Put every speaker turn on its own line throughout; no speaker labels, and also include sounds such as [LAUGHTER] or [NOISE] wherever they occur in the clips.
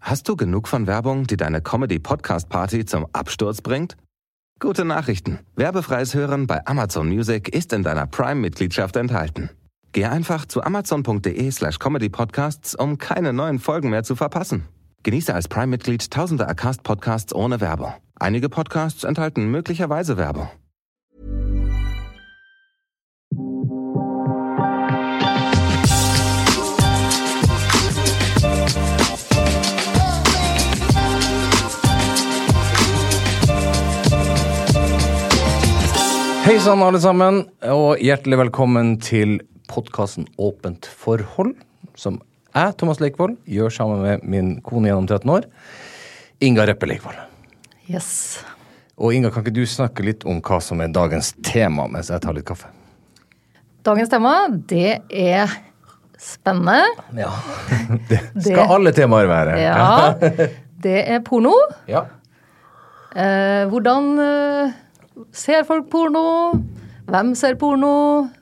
Hast du genug von Werbung, die deine Comedy-Podcast-Party zum Absturz bringt? Gute Nachrichten. Werbefreies Hören bei Amazon Music ist in deiner Prime-Mitgliedschaft enthalten. Gehe einfach zu amazon.de slash comedypodcasts, um keine neuen Folgen mehr zu verpassen. Genieße als Prime-Mitglied tausende Acast-Podcasts ohne Werbung. Einige Podcasts enthalten möglicherweise Werbung.
Hei sann, alle sammen, og hjertelig velkommen til podkasten Åpent forhold, som jeg, Thomas Leikvoll, gjør sammen med min kone gjennom 13 år, Inga Reppe Leikvoll.
Yes.
Og Inga, kan ikke du snakke litt om hva som er dagens tema, mens jeg tar litt kaffe?
Dagens tema, det er spennende.
Ja. [LAUGHS] Det skal alle temaer være.
Ja. Det er porno.
[LAUGHS] Ja.
Eh, hvordan eh, ser folk porno? Hvem ser porno?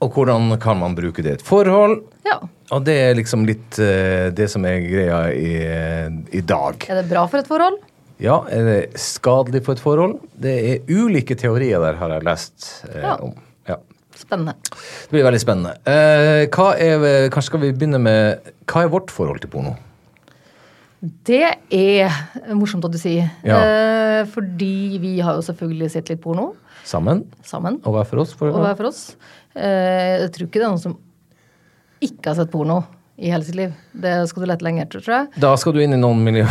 Og hvordan kan man bruke det i et forhold?
Ja.
Og det er liksom litt eh, det som er greia i, eh, i dag.
Er det bra for et forhold?
Ja, er det skadelig for et forhold? Det er ulike teorier der, har jeg lest eh,
Ja.
om. Ja.
Spennende.
Det blir veldig spennende. Eh, hva er, kanskje skal vi begynne med Hva er vårt forhold til porno?
Det er morsomt at du sier.
Ja.
Eh, fordi vi har jo selvfølgelig sett litt porno
Sammen
sammen.
og hver for oss? For,
Og hver for oss. Eh, jeg tror ikke det er noen som ikke har sett porno i hele sitt liv. Det skal du lette lenge etter, tror jeg.
Da skal du inn i noen, miljø,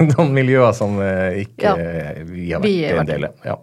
[LAUGHS] noen miljøer som eh, ikke
Ja.
eh, vi har vært
Vi har vært
en del av. Ja.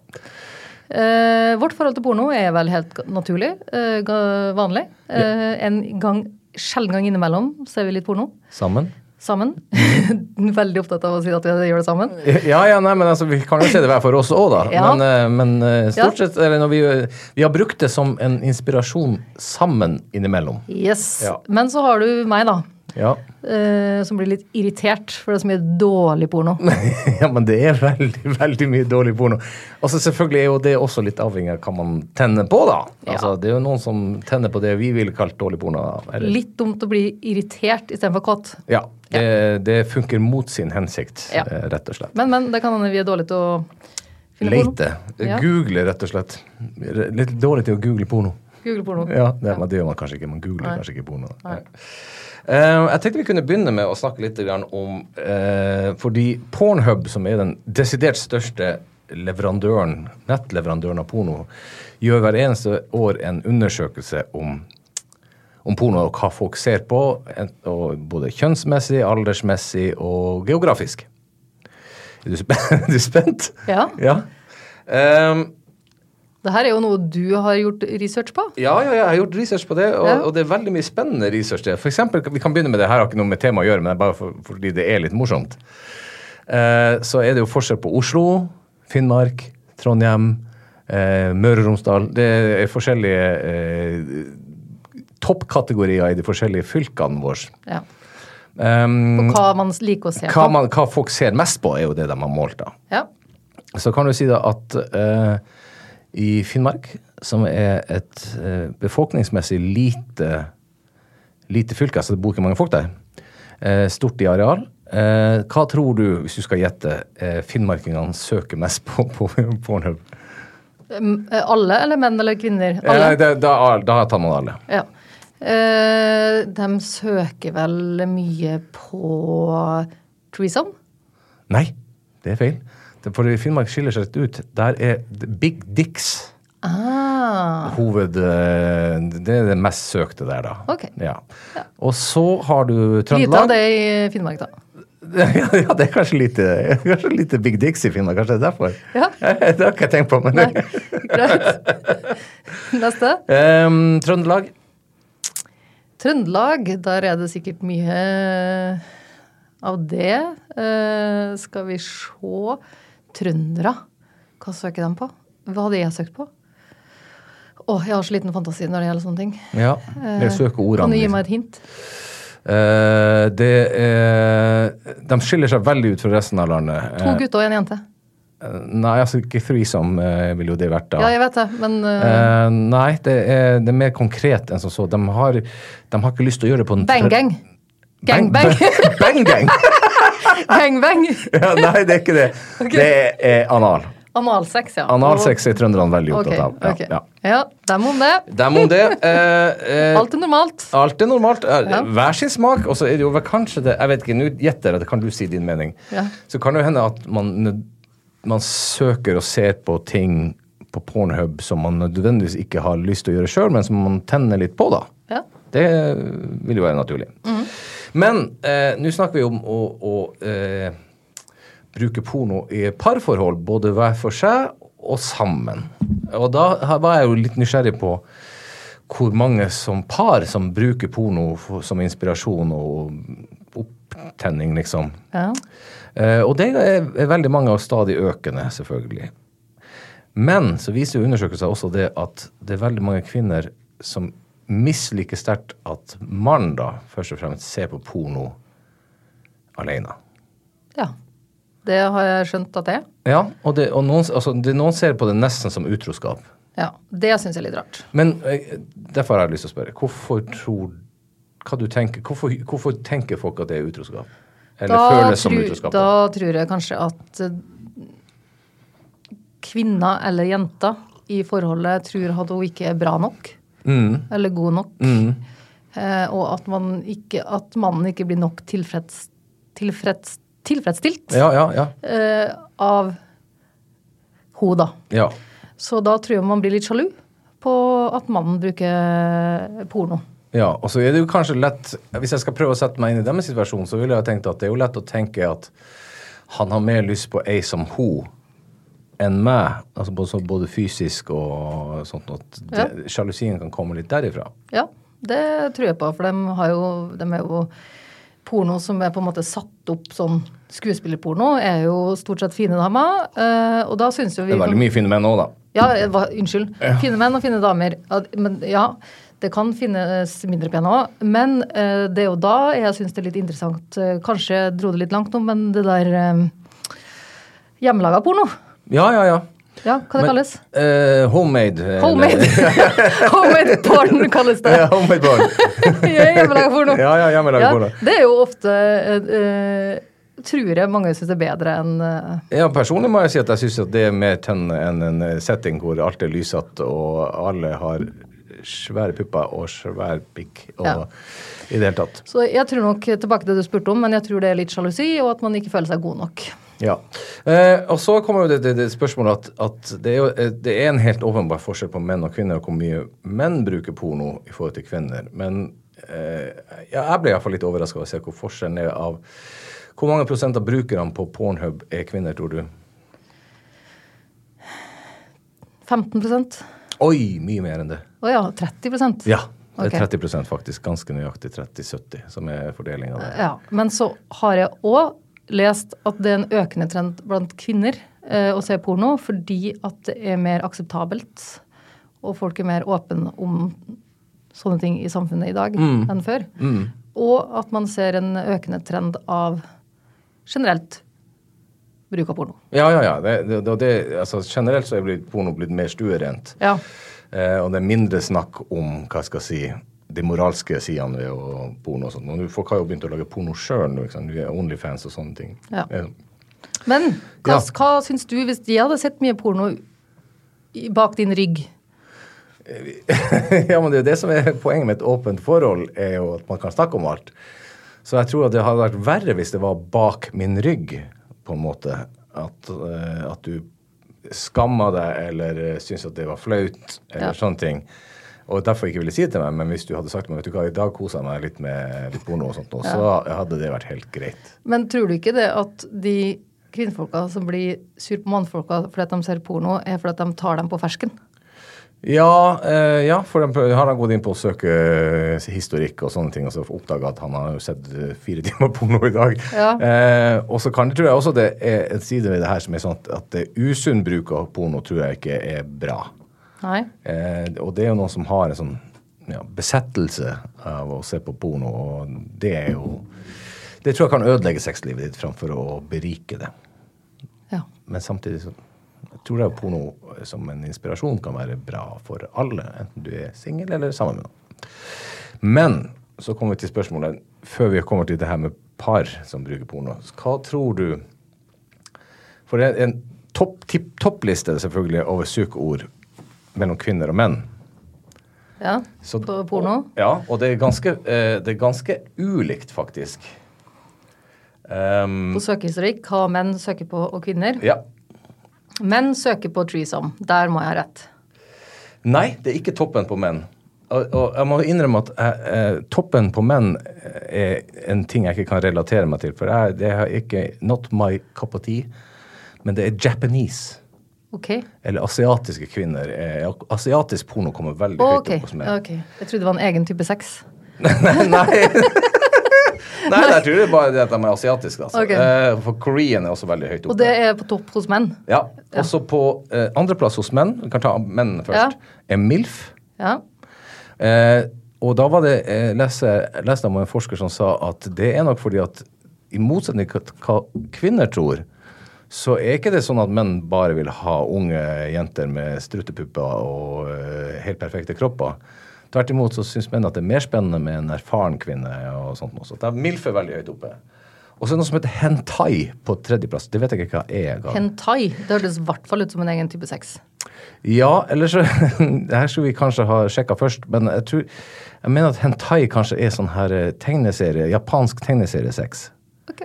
Eh, vårt forhold til porno er vel helt ga- naturlig, eh, ga- vanlig. Eh, en gang, sjelden gang innimellom ser vi litt porno
Sammen? [LAUGHS]
sammen. [LAUGHS] Veldig opptatt av å si at vi gjør det sammen.
Ja, ja, nei, men altså, vi kan jo se det hver for oss òg, da.
Ja.
Men, eh, men eh, stort
Ja.
sett eller når vi, eh, vi har brukt det som en inspirasjon sammen innimellom.
Yes.
Ja.
Men så har du meg, da.
Ja.
eh, som blir litt irritert, for det er så mye dårlig porno.
[LAUGHS] ja, men det er veldig, veldig mye dårlig porno. Altså, selvfølgelig er jo det også litt avhengig av hva man tenner på, da. Altså,
Ja.
Det er jo noen som tenner på det vi ville kalt dårlig porno. da. Eller,
Litt dumt å bli irritert istedenfor kåt.
ja, det, det funker mot sin hensikt,
Ja.
eh, rett og slett.
Men, men, det kan hende vi er dårlige til å finne
Leite.
porno. Ja.
Google, rett og slett. Litt dårlig til å google porno.
Google porno.
Ja, det, men det gjør man kanskje ikke. Man googler kanskje ikke porno. Eh, jeg tenkte vi kunne begynne med å snakke litt grann om eh, Fordi Pornhub, som er den desidert største leverandøren, nettleverandøren av porno, gjør hver eneste år en undersøkelse om, om porno og hva folk ser på. en- Og både kjønnsmessig, aldersmessig og geografisk. Er du, spen [LAUGHS] er du spent?
Ja.
ja. Ehm,
Det her er jo noe du har gjort research på.
Ja, ja, ja, jeg har gjort research på det, og,
Ja.
og det er veldig mye spennende research. der. For eksempel, vi kan begynne med det her, har ikke noe med temaet å gjøre, men det er bare for, fordi det er litt morsomt. Eh, så er det jo forskjell på Oslo, Finnmark, Trondheim, eh, Møre og Romsdal. Det er forskjellige eh, toppkategorier i de forskjellige fylkene våre.
Ja.
Um,
Hva man liker å se
hva,
på.
man, hva folk ser mest på, er jo det de har målt, da.
Ja.
Så kan du si da at eh, i Finnmark, som er et eh, befolkningsmessig lite, lite fylke, altså det bor ikke mange folk der, eh, stort i areal, eh, hva tror du, hvis du skal gjette, eh, finnmarkingene søker mest på på Pornhub?
Mm, eh, Alle, eller menn eller kvinner?
Eh, nei,
Alle.
da, da, da tar man alle.
Ja. Eh, de søker vel mye på threesome?
Nei, det er feil. Det- For Finnmark skiller seg litt ut. Der er the Big Dicks.
Ah.
Hoved, eh, det er det mest søkte der, da.
Ok.
Ja. Og så har du
Lite av
Trøndelag.
det i Finnmark, da.
ja, [LAUGHS] ja, det er kanskje lite, [LAUGHS] kanskje lite Big Dicks i Finland. Kanskje det er derfor.
Ja.
[LAUGHS]
[LAUGHS]
det har ikke jeg tenkt på. men
Nei,
det.
greit. Neste.
Ehm, Trøndelag.
Trøndelag, der er det sikkert mye eh, av det. Eh, skal vi se Trøndere, hva søker de på? Hva hadde jeg søkt på? Å, jeg har så liten fantasi når det gjelder sånne ting.
Ja, jeg søker ordene.
Eh, Kan du gi
liksom.
meg et hint?
Eh, det er, de skiller seg veldig ut fra resten av landet.
To gutter og en jente.
Eh, nei, altså ikke threesome uh, ville jo det vært da.
Ja, jeg vet det, men eh,
Eh, nei, det er, det er mer konkret enn som så. De har, de har ikke lyst til å gjøre det på en
Bang [LAUGHS] Gang. Gangbang.
[LAUGHS] Bang-gang!
Gangbang.
ja, nei, det er ikke det. Det er, eh, anal.
Analsex, ja.
Analsex er trønderne veldig
Ok,
opptatt av. Ja,
ok.
ja.
Ja, dem om det.
Dem om det. Eh, eh,
Alt er normalt.
Alt er normalt. eh,
Ja.
Hver sin smak. Og så er det jo vel kanskje det Jeg vet ikke, nå gjetter jeg, det kan du si din mening.
Ja.
Så kan det jo hende at man, nød- man søker og ser på ting på Pornhub som man nødvendigvis ikke har lyst til å gjøre sjøl, men som man tenner litt på, da.
Ja.
Det vil jo være naturlig. Men eh, nå snakker vi om å, å eh, bruke porno i parforhold, både hver for seg og sammen. Og da har- var jeg jo litt nysgjerrig på hvor mange som par som bruker porno for, som inspirasjon og opptenning, liksom.
ja.
Eh, og det er, er veldig mange og stadig økende, selvfølgelig. Men så viser jo undersøkelser også det at det er veldig mange kvinner som misliker sterkt at mannen da først og fremst ser på porno alene.
ja. Det har jeg skjønt at det er.
Ja, og, det, og noen, altså, det, noen ser på det nesten som utroskap.
Ja. Det syns jeg er litt rart.
Men eh, derfor har jeg lyst til å spørre. Hvorfor tror hva du tenker, hvorfor, hvorfor tenker folk at det er utroskap? Eller føles som
tru-
utroskap?
da
Da.
tror jeg kanskje at eh, kvinna eller jenta i forholdet tror at hun ikke er bra nok.
Mm.
Eller god nok. Eh, og at, man ikke, at mannen ikke blir nok tilfreds, tilfreds, tilfredsstilt
Ja, ja, ja.
eh, av henne, da.
ja.
Så da tror jeg man blir litt sjalu på at mannen bruker porno.
Ja, og så er det jo kanskje lett Hvis jeg skal prøve å sette meg inn i deres situasjon, så ville jeg tenkt at det er jo lett å tenke at han har mer lyst på ei som ho enn meg. Altså både, så både fysisk og sånt. At det- sjalusien kan komme litt derifra.
Ja, det tror jeg på, for de, har jo, de er jo Porno som er på en måte satt opp sånn skuespillerporno, er jo stort sett fine damer. eh, og da syns jo vi
Det er veldig mye fine menn òg, da.
Ja, eh, hva, unnskyld. Fine menn og fine damer. Ja, Men ja, det kan finnes mindre pene òg. Men eh, det er jo da jeg syns det er litt interessant eh, Kanskje jeg dro det litt langt nå, men det der eh, Hjemmelaga porno.
Ja, ja, ja.
Ja, hva det
Men, [LAUGHS]
kalles?
eh, homemade. eller-
Homemade. Homemade [LAUGHS] porn kalles
[LAUGHS] ja,
det.
homemade barn.
Hjemmelaga porno.
Ja, ja, hjemmelaga porno.
Det er jo ofte eh, eh, Tror jeg mange syns er bedre enn eh,
Ja, Personlig må jeg si at jeg syns det er mer tønne enn en eh, setting hvor alt er lysete og alle har svære pupper og svær pikk og
Ja.
i det hele tatt.
Så jeg tror nok tilbake til det du spurte om, men jeg tror det er litt sjalusi, og at man ikke føler seg god nok.
Ja. Eh, og så kommer jo det, det, det spørsmålet at, at det, er jo, eh, det er en helt åpenbar forskjell på menn og kvinner og hvor mye menn bruker porno i forhold til kvinner. Men eh, ja, jeg ble iallfall litt overraska over å se hvor forskjellen er av Hvor mange prosent av brukerne på Pornhub er kvinner, tror du?
15 Å
Oi, mye mer enn det.
ja, 30
Ja. Det
Ok.
er 30 faktisk. Ganske nøyaktig 30-70 som er fordelinga der.
Ja, Men så har jeg òg lest at det er en økende trend blant kvinner eh, å se porno fordi at det er mer akseptabelt, og folk er mer åpne om sånne ting i samfunnet i dag enn før. Og at man ser en økende trend av generelt bruk av porno.
Ja, ja, ja. Det, det, det, det, altså, generelt så er blitt- porno blitt mer stuerent.
Ja.
Eh, og det er mindre snakk om hva skal jeg si, de moralske sidene ved å porno. og sånt. Men Folk har jo begynt å lage porno sjøl. Liksom. Du er Onlyfans og sånne ting.
Ja.
Eh,
Men
Ja.
hva, hva syns du hvis jeg hadde sett mye porno i- bak din rygg?
[LAUGHS] ja, men det er jo det som er poenget med et åpent forhold, er jo at man kan snakke om alt. Så jeg tror at det hadde vært verre hvis det var bak min rygg, på en måte. At, eh, at du skamma deg eller eh, syntes at det var flaut, eller
Ja.
sånne ting. Og derfor ikke ville si det til meg, men hvis du hadde sagt til meg vet du hva, i dag koser jeg meg litt med litt porno og sånt, nå, så hadde det vært helt greit.
Men tror du ikke det at de kvinnfolka som blir sur på mannfolka fordi at de ser porno, er fordi at de tar dem på fersken?
Ja, eh, ja, for de prø- har han gått inn på å søke eh, historikk og sånne ting, og så oppdaga at han har jo sett eh, fire [LAUGHS] timer porno i dag.
Ja.
Eh, og så kan det, tror jeg også det er en side ved det her som er sånn at- at det usunn bruk av porno tror jeg ikke er bra.
Nei.
Eh, og det er jo noen som har en sånn ja, besettelse av å se på porno, og det er jo Det tror jeg kan ødelegge sexlivet ditt framfor å berike det.
Ja.
Men samtidig så jeg tror jeg porno som en inspirasjon kan være bra for alle, enten du er singel eller sammen med noen. Men så kommer vi til spørsmålet, før vi kommer til det her med par som bruker porno. Hva tror du For det er en topp, tipp- toppliste selvfølgelig over søkeord mellom kvinner og menn.
Ja,
Så-
på porno.
Og, ja, og det er ganske, eh, det er ganske ulikt, faktisk. Ehm,
På søkehistorikk, hva menn søker på og kvinner.
ja.
Menn søker på threesome. Der må jeg ha rett.
Nei, det er ikke toppen på menn. Og, og jeg må innrømme at eh, eh, toppen på menn eh, er en ting jeg ikke kan relatere meg til. For jeg, det er ikke Not my cup of tea. Men det er Japanese.
Ok.
Eller asiatiske kvinner. Eh, asiatisk porno kommer veldig
Ok.
høyt opp hos menn.
ok. Jeg trodde det var en egen type sex.
[LAUGHS] Nei. Nei, [LAUGHS] jeg tror det er bare det at de er asiatiske. Altså.
Ok.
Eh, for Korean er også veldig høyt
Og
oppe.
det er på topp hos menn.
Ja. Også på eh, andreplass hos menn, vi kan ta mennene først, er MILF.
Ja.
Eh, og da var det eh, leste, leste jeg om en forsker som sa at det er nok fordi at i motsetning til hva kvinner tror, så er ikke det sånn at menn bare vil ha unge jenter med struttepupper og eh, helt perfekte kropper. Tvert imot så syns menn at det er mer spennende med en erfaren kvinne. og sånt også. Det er MILF er veldig høyt oppe. Og så er det noe som heter hentai på tredjeplass. Det vet jeg ikke hva er. engang.
Hentai. Det hørtes i hvert fall ut som en egen type sex.
Ja, eller så [LAUGHS] Det her skulle vi kanskje ha sjekka først, men jeg tror Jeg mener at hentai kanskje er sånn her eh, tegneserie, japansk tegneseriesex.
Ok.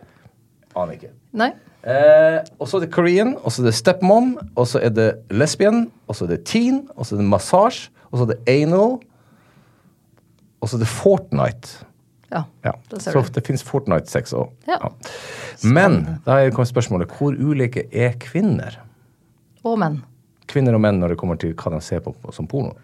Aner ikke.
Nei.
Eh, og så er det Korean, og så er det stepmom, og så er det lesbian, og så er det teen, og så er det massasje, og så er det anal, og så er det Fortnite.
Ja.
Ja,
Da ser
så
du.
det fins Fortnite-sex òg.
Ja.
Men da er- kommer spørsmålet hvor ulike er kvinner?
Og menn.
Kvinner og menn når det kommer til hva de ser på på- som porno.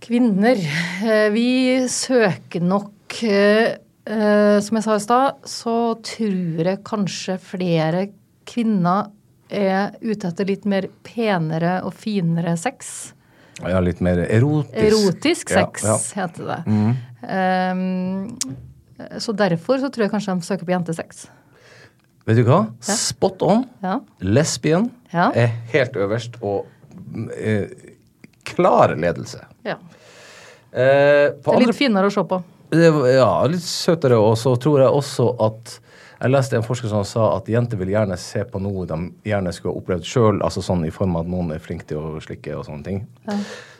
Kvinner. eh, Vi søker nok eh, eh, Som jeg sa i stad, så tror jeg kanskje flere kvinner er ute etter litt mer penere og finere sex.
Ja, litt mer erotisk.
Erotisk sex,
Ja, Mm.
heter det. Eh, så derfor så tror jeg kanskje de søker på jentesex.
ja. Vet du hva?
Ja.
Spot on.
Ja.
Lesbien
Ja.
er helt øverst og mm, eh, klar ledelse.
ja.
Eh, på
Det er
andre-
litt finere å se på.
det var- ja, litt søtere. Og så tror jeg også at jeg leste en forsker som sa at jenter vil gjerne se på noe de gjerne skulle ha opplevd sjøl, altså sånn i form av at noen er flink til å slikke og sånne ting.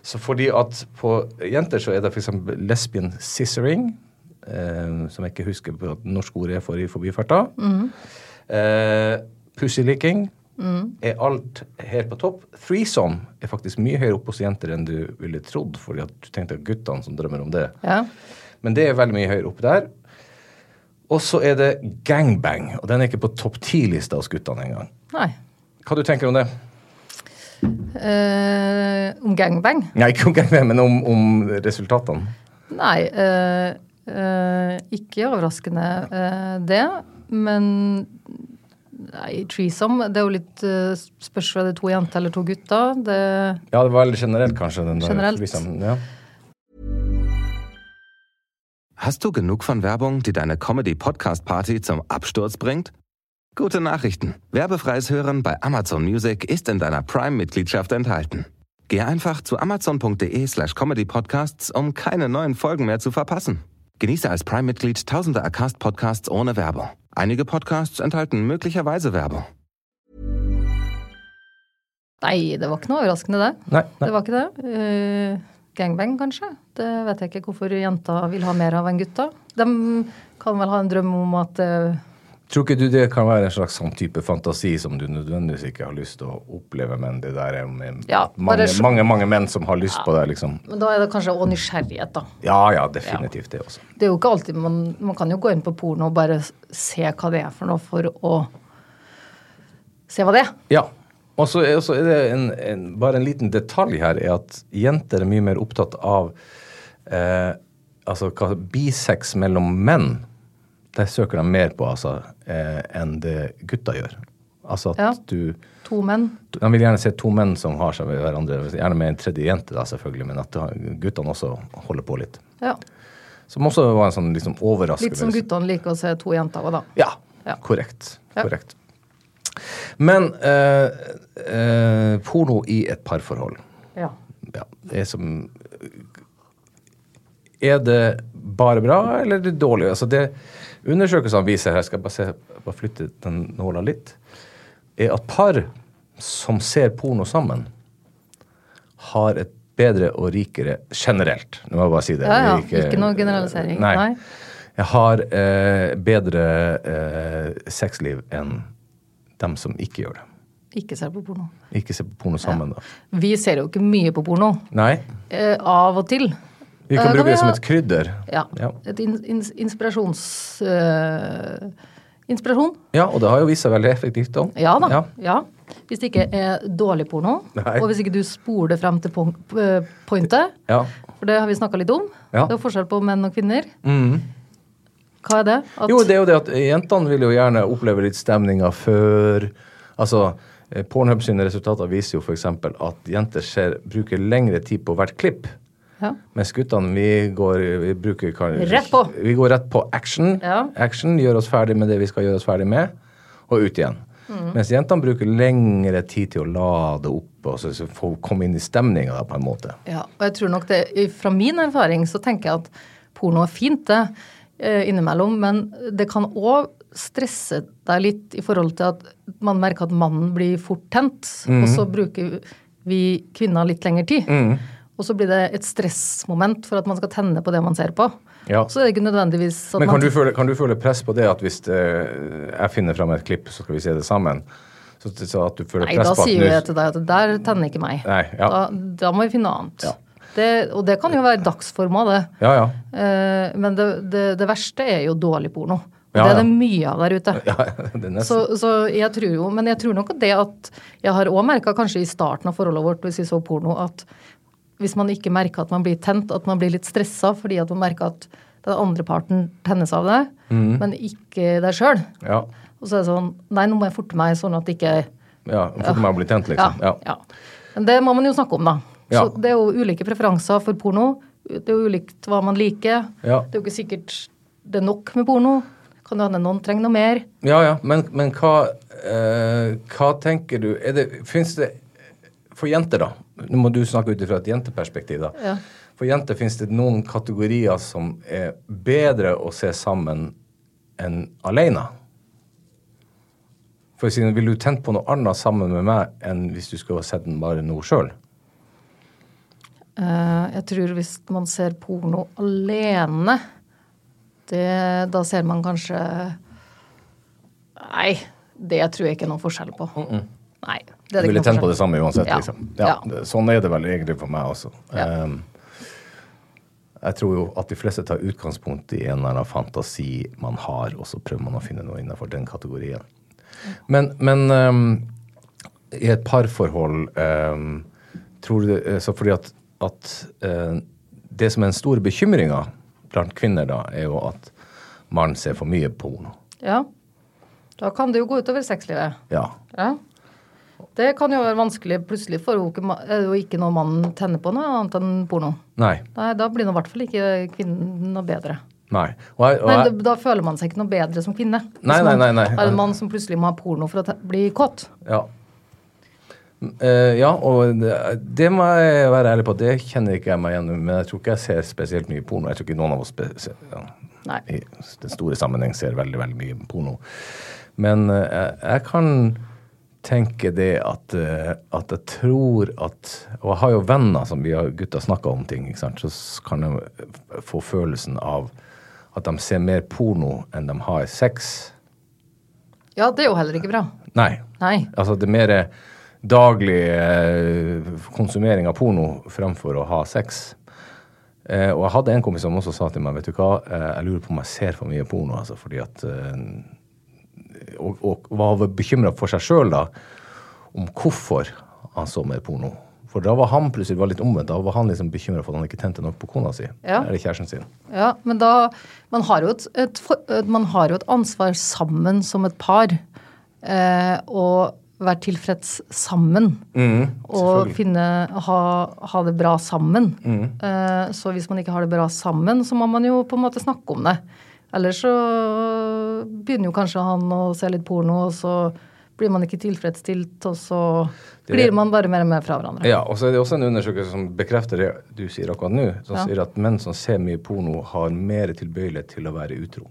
Så fordi at på jenter så er det f.eks. lesbian scissoring, eh, som jeg ikke husker på at norsk ord er for i forbifarta. Eh, Pussylicking er alt helt på topp. Threesome er faktisk mye høyere oppe hos jenter enn du ville trodd, fordi at du tenkte at guttene som drømmer om det.
Ja.
Men det er veldig mye høyere oppe der. Og så er det gangbang, og den er ikke på topp ti-lista hos guttene engang.
Nei.
Hva du tenker om det?
Eh, om gangbang?
Nei, ikke om gangbang, men om, om resultatene.
Nei. eh, eh, ikke overraskende eh, det. Men nei, threesome Det er jo litt uh, spørs om det er to jenter eller to gutter. Det,
Ja, det var veldig generelt, kanskje. Den der
Generelt.
threesome, ja.
Hast du genug von Werbung, die deine Comedy-Podcast-Party zum Absturz bringt? Gute Nachrichten. Werbefreies Hören bei Amazon Music ist in deiner Prime-Mitgliedschaft enthalten. Geh einfach zu amazon.de slash comedypodcasts, um keine neuen Folgen mehr zu verpassen. Genieße als Prime-Mitglied tausende Acast-Podcasts ohne Werbung. Einige Podcasts enthalten möglicherweise Werbung.
nei, det var ikke noe overraskende, det.
Nei, nei.
Det var ikke det. Eh, gangbang, kanskje. Det vet jeg ikke hvorfor jenter vil ha mer av enn gutter. De kan vel ha en drøm om at eh,
Tror ikke du det kan være en slags sånn type fantasi som du nødvendigvis ikke har lyst til å oppleve, men det der er med
Ja,
mange,
bare sl-
mange, mange menn som har lyst på det, liksom.
Men da er det kanskje òg nysgjerrighet, da.
Ja ja, definitivt det også.
Det er jo ikke alltid man, man kan jo gå inn på porno og bare s- se hva det er for noe, for å se hva det er.
Ja. Og så er, så er det en, en, bare en liten detalj her, er at jenter er mye mer opptatt av eh, altså hva, bisex mellom menn. Det søker de mer på altså, eh, enn det gutta gjør. Altså at
Ja.
du
To menn.
De vil gjerne se to menn som har seg med hverandre. Gjerne med en tredje jente, da, selvfølgelig, men at guttene også holder på litt.
Ja.
Som også var en sånn liksom, overraskelse.
Litt som guttene liker å se to jenter òg, da.
Ja,
Ja.
korrekt.
Ja.
korrekt. Men eh, eh, porno i et parforhold
Ja.
ja, det er som Er det bare bra, eller er det dårlig? Altså det undersøkelsene viser her, jeg skal bare, se, bare flytte den nåla litt, er at par som ser porno sammen, har et bedre og rikere generelt. Nå må jeg bare si det.
Ja, ja. Ikke noe generalisering.
Nei.
Nei.
Jeg har eh, bedre eh, sexliv enn dem som ikke gjør det.
Ikke ser på porno.
Ikke ser på porno sammen, da.
Vi ser jo ikke mye på porno.
Nei.
Eh, av og til.
Vi
Eh,
kan bruke det som
ha-
et krydder.
ja,
Ja.
Et in, ins- inspirasjons... eh, inspirasjon.
Ja, og det har jo vist seg veldig effektivt. Da.
Ja da. Ja. Hvis det ikke er dårlig porno,
Nei.
og hvis ikke du spoler frem til pon- eh, pointet,
Ja.
for det har vi snakka litt om,
Ja. Mhm.
det er forskjell på menn og kvinner. Hva er det? At,
Jo, det er jo det at jentene vil jo gjerne oppleve litt stemninga før Altså, eh, Pornhub sine resultater viser jo f.eks. at jenter ser, bruker lengre tid på hvert klipp.
Ja.
Mens guttene, vi går vi bruker, kan,
Rett på.
Vi går rett på action.
Ja.
Action gjør oss ferdig med det vi skal gjøre oss ferdig med, og ut igjen.
Mm.
Mens jentene bruker lengre tid til å lade opp og så, så få komme inn i stemninga, på en måte.
Ja, og jeg tror nok det, Fra min erfaring så tenker jeg at porno er fint, det, eh, innimellom. Men det kan òg stresse deg litt i forhold til at man merker at mannen blir fort tent. Og
Mhm.
så bruker vi kvinner litt lengre tid. Og så blir det et stressmoment for at man skal tenne på det man ser på.
Ja.
Så er det ikke nødvendigvis at
Men kan
man
du, føle, kan du føle press på det at hvis eh, jeg finner fram et klipp, så skal vi se det sammen? Så, så at du føler
Nei,
press
da
på at
sier
nå-
jo jeg til deg at det der tenner ikke meg.
Nei, ja.
da, da må vi finne noe annet.
Ja.
Det, og det kan jo være dagsforma, det.
Ja, [LAUGHS] ja.
Eh, men det, det, det verste er jo dårlig porno. Og
Ja,
det
ja.
er det mye av der ute.
ja det er nesten.
Så, så jeg tror jo, Men jeg tror nok at det at Jeg har òg merka kanskje i starten av forholdet vårt hvis vi så porno, at hvis man ikke merker at man blir tent, at man blir litt stressa fordi at man merker at den andre parten tennes av det,
Mm.
men ikke deg sjøl.
ja.
Og så er det sånn Nei, nå må jeg forte meg, sånn at ikke
ja. Fort meg å bli tent, liksom.
ja, ja. Men det må man jo snakke om, da.
Ja.
Så det er jo ulike preferanser for porno. Det er jo ulikt hva man liker.
Ja.
Det er jo ikke sikkert det er nok med porno. Kan det hende noen trenger noe mer?
Ja, ja. Men, men hva, eh, hva tenker du er det, Fins det For jenter, da. Nå må du snakke ut fra et jenteperspektiv, da.
Ja.
For jenter fins det noen kategorier som er bedre å se sammen enn alene. For å si, vil du tent på noe annet sammen med meg enn hvis du skulle ha sett den bare nå sjøl?
Eh, jeg tror hvis man ser porno alene, det, da ser man kanskje Nei, det tror jeg ikke er noen forskjell på. Nei, det er
Du
det
ville
ikke
tent
noen
på det
forskjell
samme uansett,
Ja.
liksom. Ja,
Ja.
det- Sånn er det vel egentlig for meg også.
Ja.
Ehm, jeg tror jo at de fleste tar utgangspunkt i en eller annen fantasi man har, og så prøver man å finne noe innenfor den kategorien. Men, men ehm, i et parforhold ehm, tror du det- eh, Så fordi at, at eh, det som er den store bekymringa blant kvinner, da, er jo at man ser for mye porno.
Ja. Da kan det jo gå utover sexlivet.
Ja.
Ja. Det kan jo være vanskelig. Plutselig får hun ikke, ma- er det jo ikke noe mannen tenner på noe annet enn porno.
Nei.
Nei, da blir nå i hvert fall ikke kvinnen noe bedre.
Nei. Og jeg, og
Nei,
jeg,
da, da føler man seg ikke noe bedre som kvinne. Hvis
Nei, nei, nei, nei.
man Er en mann som plutselig må ha porno for å te- bli kåt.
Ja. Eh, ja, og det, det må jeg være ærlig på, det kjenner ikke jeg meg igjen i. Men jeg tror ikke jeg ser spesielt mye porno. Jeg tror ikke noen av oss spe- se- ja,
Nei.
i den store sammenheng ser veldig, veldig mye porno. Men eh, jeg, jeg kan tenke det at, eh, at jeg tror at Og jeg har jo venner som vi har gutta snakka om ting, ikke sant? så s- kan jeg f- få følelsen av at de ser mer porno enn de har sex.
Ja, det er jo heller ikke bra.
Nei.
Nei.
Altså det mer daglig eh, konsumering av porno fremfor å ha sex. Eh, og jeg hadde en kompis som også sa til meg vet du hva, eh, jeg lurer på om jeg ser for mye porno. altså, fordi at, eh, og, og var bekymra for seg sjøl om hvorfor han så mer porno. For da var han plutselig det var litt omvendt. Da var han liksom bekymra for at han ikke tente nok på kona si.
Ja.
Eller kjæresten sin.
Ja, men da Man har jo et, et, for- et- man har jo et ansvar sammen som et par. Eh, og være tilfreds sammen. og finne ha, ha det bra sammen. Eh, så hvis man ikke har det bra sammen, så må man jo på en måte snakke om det. Ellers så begynner jo kanskje han å se litt porno, og så blir man ikke tilfredsstilt, og så glir man bare mer og mer fra hverandre.
Ja, og så er det også en undersøkelse som bekrefter det du sier akkurat nå, som
Ja.
sier at menn som ser mye porno, har mer tilbøyelighet til å være utro.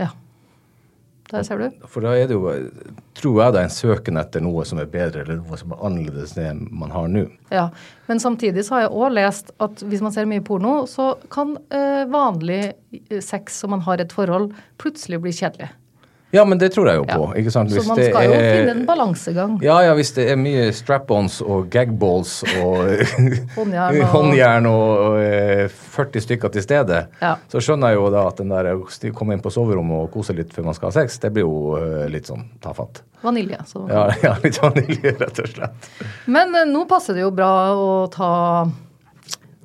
Ja. Der ser du.
For da er det jo, tror jeg, da en søken etter noe som er bedre, eller noe som er annerledes enn det man har nå.
Ja. Men samtidig så har jeg òg lest at hvis man ser mye porno, så kan eh, vanlig eh, sex som man har et forhold, plutselig bli kjedelig.
Ja, men det tror jeg jo på.
Ja.
ikke sant?
Så
Hvis
man
det
skal jo
er-
finne en balansegang.
Ja, ja, hvis det er mye strap-ons og gagballs og
[LAUGHS] Håndjern og-
håndjern og, og, eh, 40 stykker til stede,
Ja.
så skjønner jeg jo da at den der å sti- komme inn på soverommet og kose litt før man skal ha sex, det blir jo eh, litt sånn tafatt.
Vanilje. Så.
Ja, [LAUGHS] ja, litt vanilje, rett og slett.
Men eh, nå passer det jo bra å ta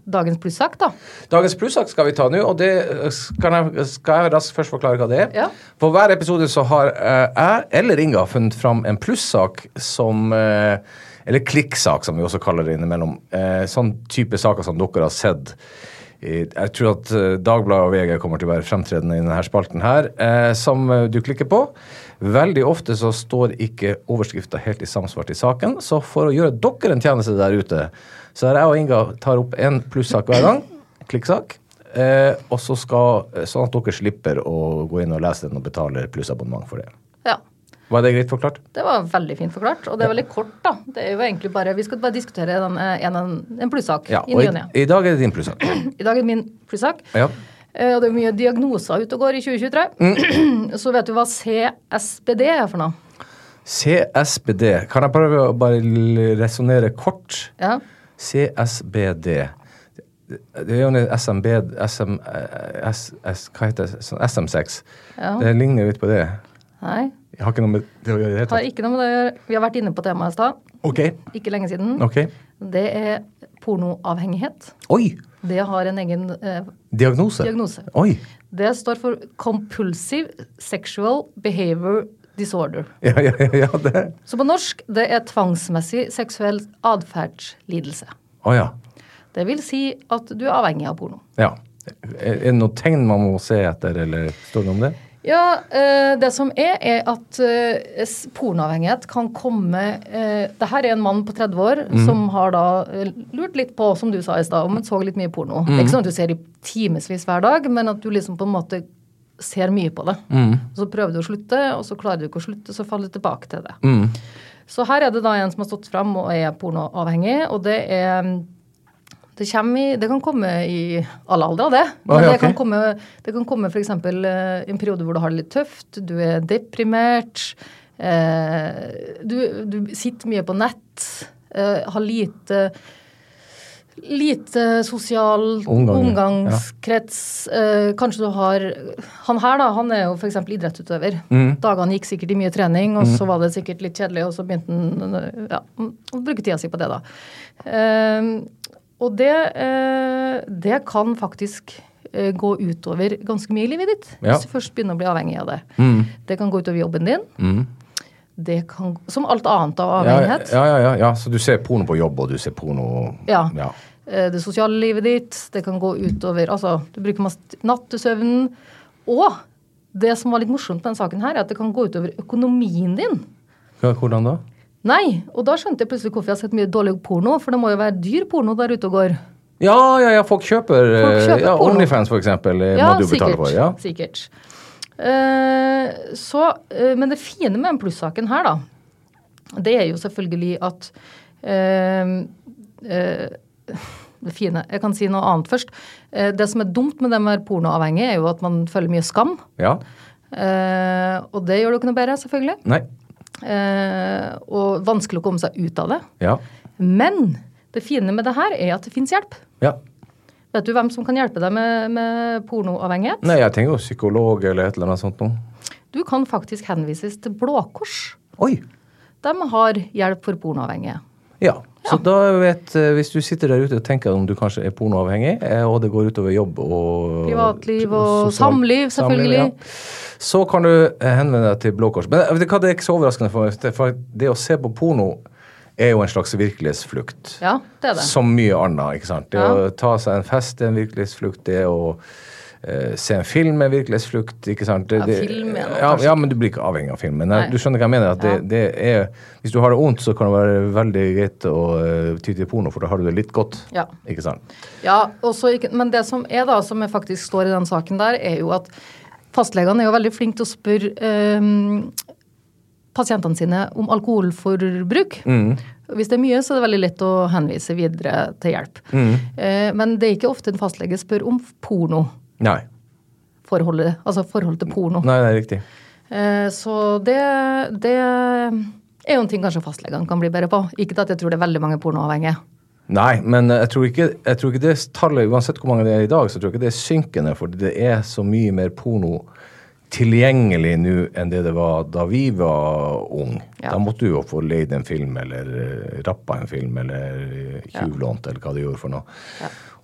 dagens plussak, da.
Dagens plussak skal vi ta nå, og det eh, skal jeg, skal jeg raskt først forklare hva det er.
Ja.
For hver episode så har eh, jeg eller Inga funnet fram en plussak som eh, Eller klikksak, som vi også kaller det innimellom. Eh, sånn type saker som dere har sett. Eh, Jeg tror at eh, Dagbladet og VG kommer til å være fremtredende i denne spalten her, eh, som eh, du klikker på. Veldig ofte så står ikke overskrifta helt i samsvar til saken, så for å gjøre dere en tjeneste der ute, så er jeg og Inga tar opp én plussak hver gang, klikksak, Eh, og så skal, Sånn at dere slipper å gå inn og lese den og betale plussabonnement for det.
Ja.
Var det greit forklart?
Det var veldig fint forklart, og det er veldig kort, da. Det er jo egentlig bare, Vi skal bare diskutere den, eh, en, en- en plussak i
og
ny
i,
og ne.
I dag er det din plussak.
I dag er min plussak.
Ja.
Eh, Og det er mye diagnoser ute og går i 2023. [CLEARS THROAT] Så vet du hva CSBD er for noe?
CSBD. Kan jeg prøve å bare resonnere kort?
Ja.
CSBD. Det er jo en SMB SM, eh, S, S, Hva heter det? Sånn SM6.
Ja.
Det ligner jo litt på det.
Nei.
Jeg har ikke noe med det å gjøre i det hele
Har
tatt.
ikke noe med det å gjøre. Vi har vært inne på temaet i stad.
Ok.
Ikke lenge siden.
ok.
Det er pornoavhengighet.
Oi!
Det har en egen eh,
Diagnose.
Diagnose.
Oi! [LAUGHS]
Det står for Compulsive Sexual Behavior Disorder.
Ja, ja, ja, ja det
Så på norsk det er tvangsmessig seksuell atferdslidelse.
Å ja.
Det vil si at du er avhengig av porno.
Ja. Er er det noen tegn man må se etter, eller står det noe om det?
Ja, eh, det som er, er at eh, s- pornoavhengighet kan komme eh, Det her er en mann på 30 år som har da eh, lurt litt på, som du sa i stad, om han så litt mye porno. Det er ikke sånn at du ser i timevis hver dag, men at du liksom på en måte ser mye på det. Og så prøver du å slutte, og så klarer du ikke å slutte, så faller du tilbake til det. Så her er det da en som har stått fram og er pornoavhengig, og det er det, kommer i, det kan komme i alle aldre, det. Men
Oi,
det
Ah, ok.
kan komme, det kan komme f.eks. en periode hvor du har det litt tøft, du er deprimert, eh, du, du sitter mye på nett, eh, har lite Lite sosial
Omgang, ja.
omgangskrets. Eh, kanskje du har Han her, da, han er jo f.eks. idrettsutøver.
Mm.
Dagene gikk sikkert i mye trening, og så var det sikkert litt kjedelig, og så begynte han øh, ja, å bruke tida si på det, da. Eh, og det, eh, det kan faktisk eh, gå utover ganske mye i livet ditt,
Ja. Mm.
hvis du først begynner å bli avhengig av det. Det kan gå utover jobben din. Det kan, som alt annet av
Ja,
avhengighet.
ja, ja, ja, ja. Så du ser porno på jobb, og du ser porno
Ja.
ja.
eh, det sosiale livet ditt, det kan gå utover Altså, du bruker masse nattesøvnen. Og det som var litt morsomt med den saken her, er at det kan gå utover økonomien din.
Hva- Hvordan da?
Nei! Og da skjønte jeg plutselig hvorfor jeg har sett mye dårlig porno, for det må jo være dyr porno der ute og går.
Ja, ja, ja, folk kjøper,
Folk
eh,
kjøper
ja,
porno.
Onlyfans, for eksempel, eh, må du betale for. Ja.
sikkert. Eh, så, eh, men det fine med den plussaken her, da, det er jo selvfølgelig at eh, eh, [LAUGHS] det fine. Jeg kan si noe annet først. Eh, Det som er dumt med det med å være pornoavhengig, er jo at man føler mye skam.
ja.
Eh, og det gjør det jo ikke noe bedre, selvfølgelig.
Nei.
Eh, og vanskelig å komme seg ut av det.
Ja.
Men det fine med det her er at det fins hjelp.
ja.
Vet du hvem som kan hjelpe deg med, med pornoavhengighet?
Nei, jeg tenker jo psykolog eller et eller annet sånt noe.
Du kan faktisk henvises til Blå Kors.
Oi!
De har hjelp for pornoavhengige.
Ja. Så da vet eh, Hvis du sitter der ute og tenker om du kanskje er pornoavhengig, eh, og det går utover jobb og
Privatliv og
sosial-
samliv, selvfølgelig.
Så kan du eh, henvende deg til Blå Kors. Men eh, vet du hva, det er ikke så overraskende for meg. For det å se på porno er jo en slags virkelighetsflukt.
Ja, det er det.
Som mye annet, ikke sant. Det
Ja.
å ta seg en fest er en virkelighetsflukt. Det å eh, se en film med virkelighetsflukt. ikke sant? Det-
Ja,
det-
film er noe,
ja,
kanskje.
ja, men du blir ikke avhengig av filmen. Nei,
Nei.
Du skjønner hva jeg mener? at det,
Ja.
det er, Hvis du har det vondt, så kan det være veldig greit å eh, ty til porno, for da har du det litt godt.
Ja.
Ikke sant?
Ja, også ikke, men det som er da, som jeg faktisk står i den saken der, er jo at fastlegene er jo veldig flinke til å spørre ehm, pasientene sine om alkoholforbruk. Hvis det er mye, så er det veldig lett å henvise videre til hjelp. Eh, men det er ikke ofte en fastlege spør om pornoforholdet,
Nei.
altså forholdet til porno.
Nei, det er riktig.
Eh, så det, det er jo en ting kanskje fastlegene kan bli bedre på. Ikke at jeg tror det er veldig mange pornoavhengige.
Nei, men eh, jeg tror, ikke, jeg tror ikke det tallet, uansett hvor mange det er i dag, så tror jeg ikke det er synkende, for det er så mye mer porno tilgjengelig nå enn det det var da vi var ung.
Ja.
Da måtte du jo få leid en film, eller eh, rappa en film, eller eh, tjuvlånt, eller hva du gjorde for noe.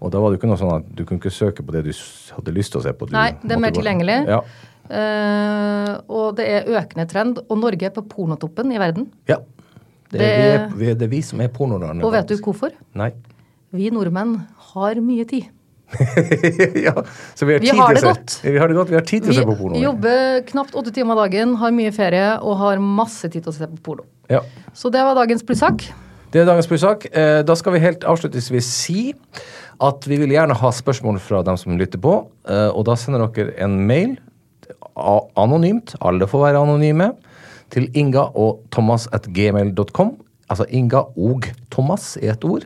Og da var det jo ikke noe sånn at du kunne ikke søke på det du s- hadde lyst til å se på. Du
Nei, det
måtte
er mer
gå-
tilgjengelig.
Ja.
Eh, og det er økende trend. Og Norge er på pornotoppen i verden.
ja. Det, er,
Det-
vi er, vi er, det er vi som er pornolandet.
Og vet du
faktisk.
hvorfor?
Nei. [LAUGHS]
Vi nordmenn har mye tid.
ja, så vi har,
Vi
tid til
har
å
det
se-
godt.
Vi har det godt. Vi har tid til å
Vi
se på porno.
jobber knapt åtte timer dagen, har mye ferie og har masse tid til å se på porno.
Ja.
Så det var dagens plussak.
Det er dagens plussak. Eh, Da skal vi helt avslutningsvis si at vi vil gjerne ha spørsmål fra dem som lytter på, eh, og da sender dere en mail, a- anonymt, alle får være anonyme, til inga og thomas at gmail.com, altså inga og thomas i ett ord,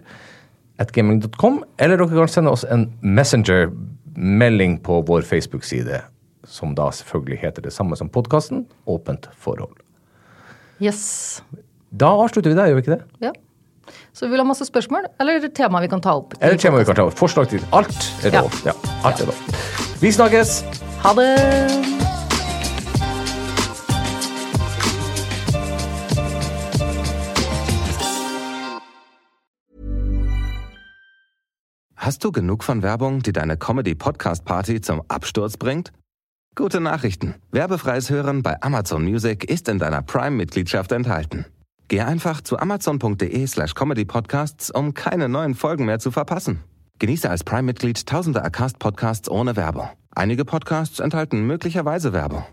at gmail.com, eller dere kan sende oss en messenger-melding på vår Facebook-side, som da selvfølgelig heter det samme som podkasten, Åpent forhold.
Yes.
Da avslutter vi der, gjør vi ikke det?
Ja. Så vi vil ha masse spørsmål eller temaer vi kan ta opp. i
Eller tema vi kan
podcasten.
ta opp. Forslag til alt er
Ja.
lov. Ja. alt er lov. Vi snakkes!
Ha det!
Hast du genug von Werbung, die deine Comedy-Podcast-Party zum Absturz bringt? Gute Nachrichten. Werbefreies Hören bei Amazon Music ist in deiner Prime-Mitgliedschaft enthalten. Gehe einfach zu amazon.de slash comedypodcasts, um keine neuen Folgen mehr zu verpassen. Genieße als Prime-Mitglied tausende Acast-Podcasts ohne Werbung. Einige Podcasts enthalten möglicherweise Werbung.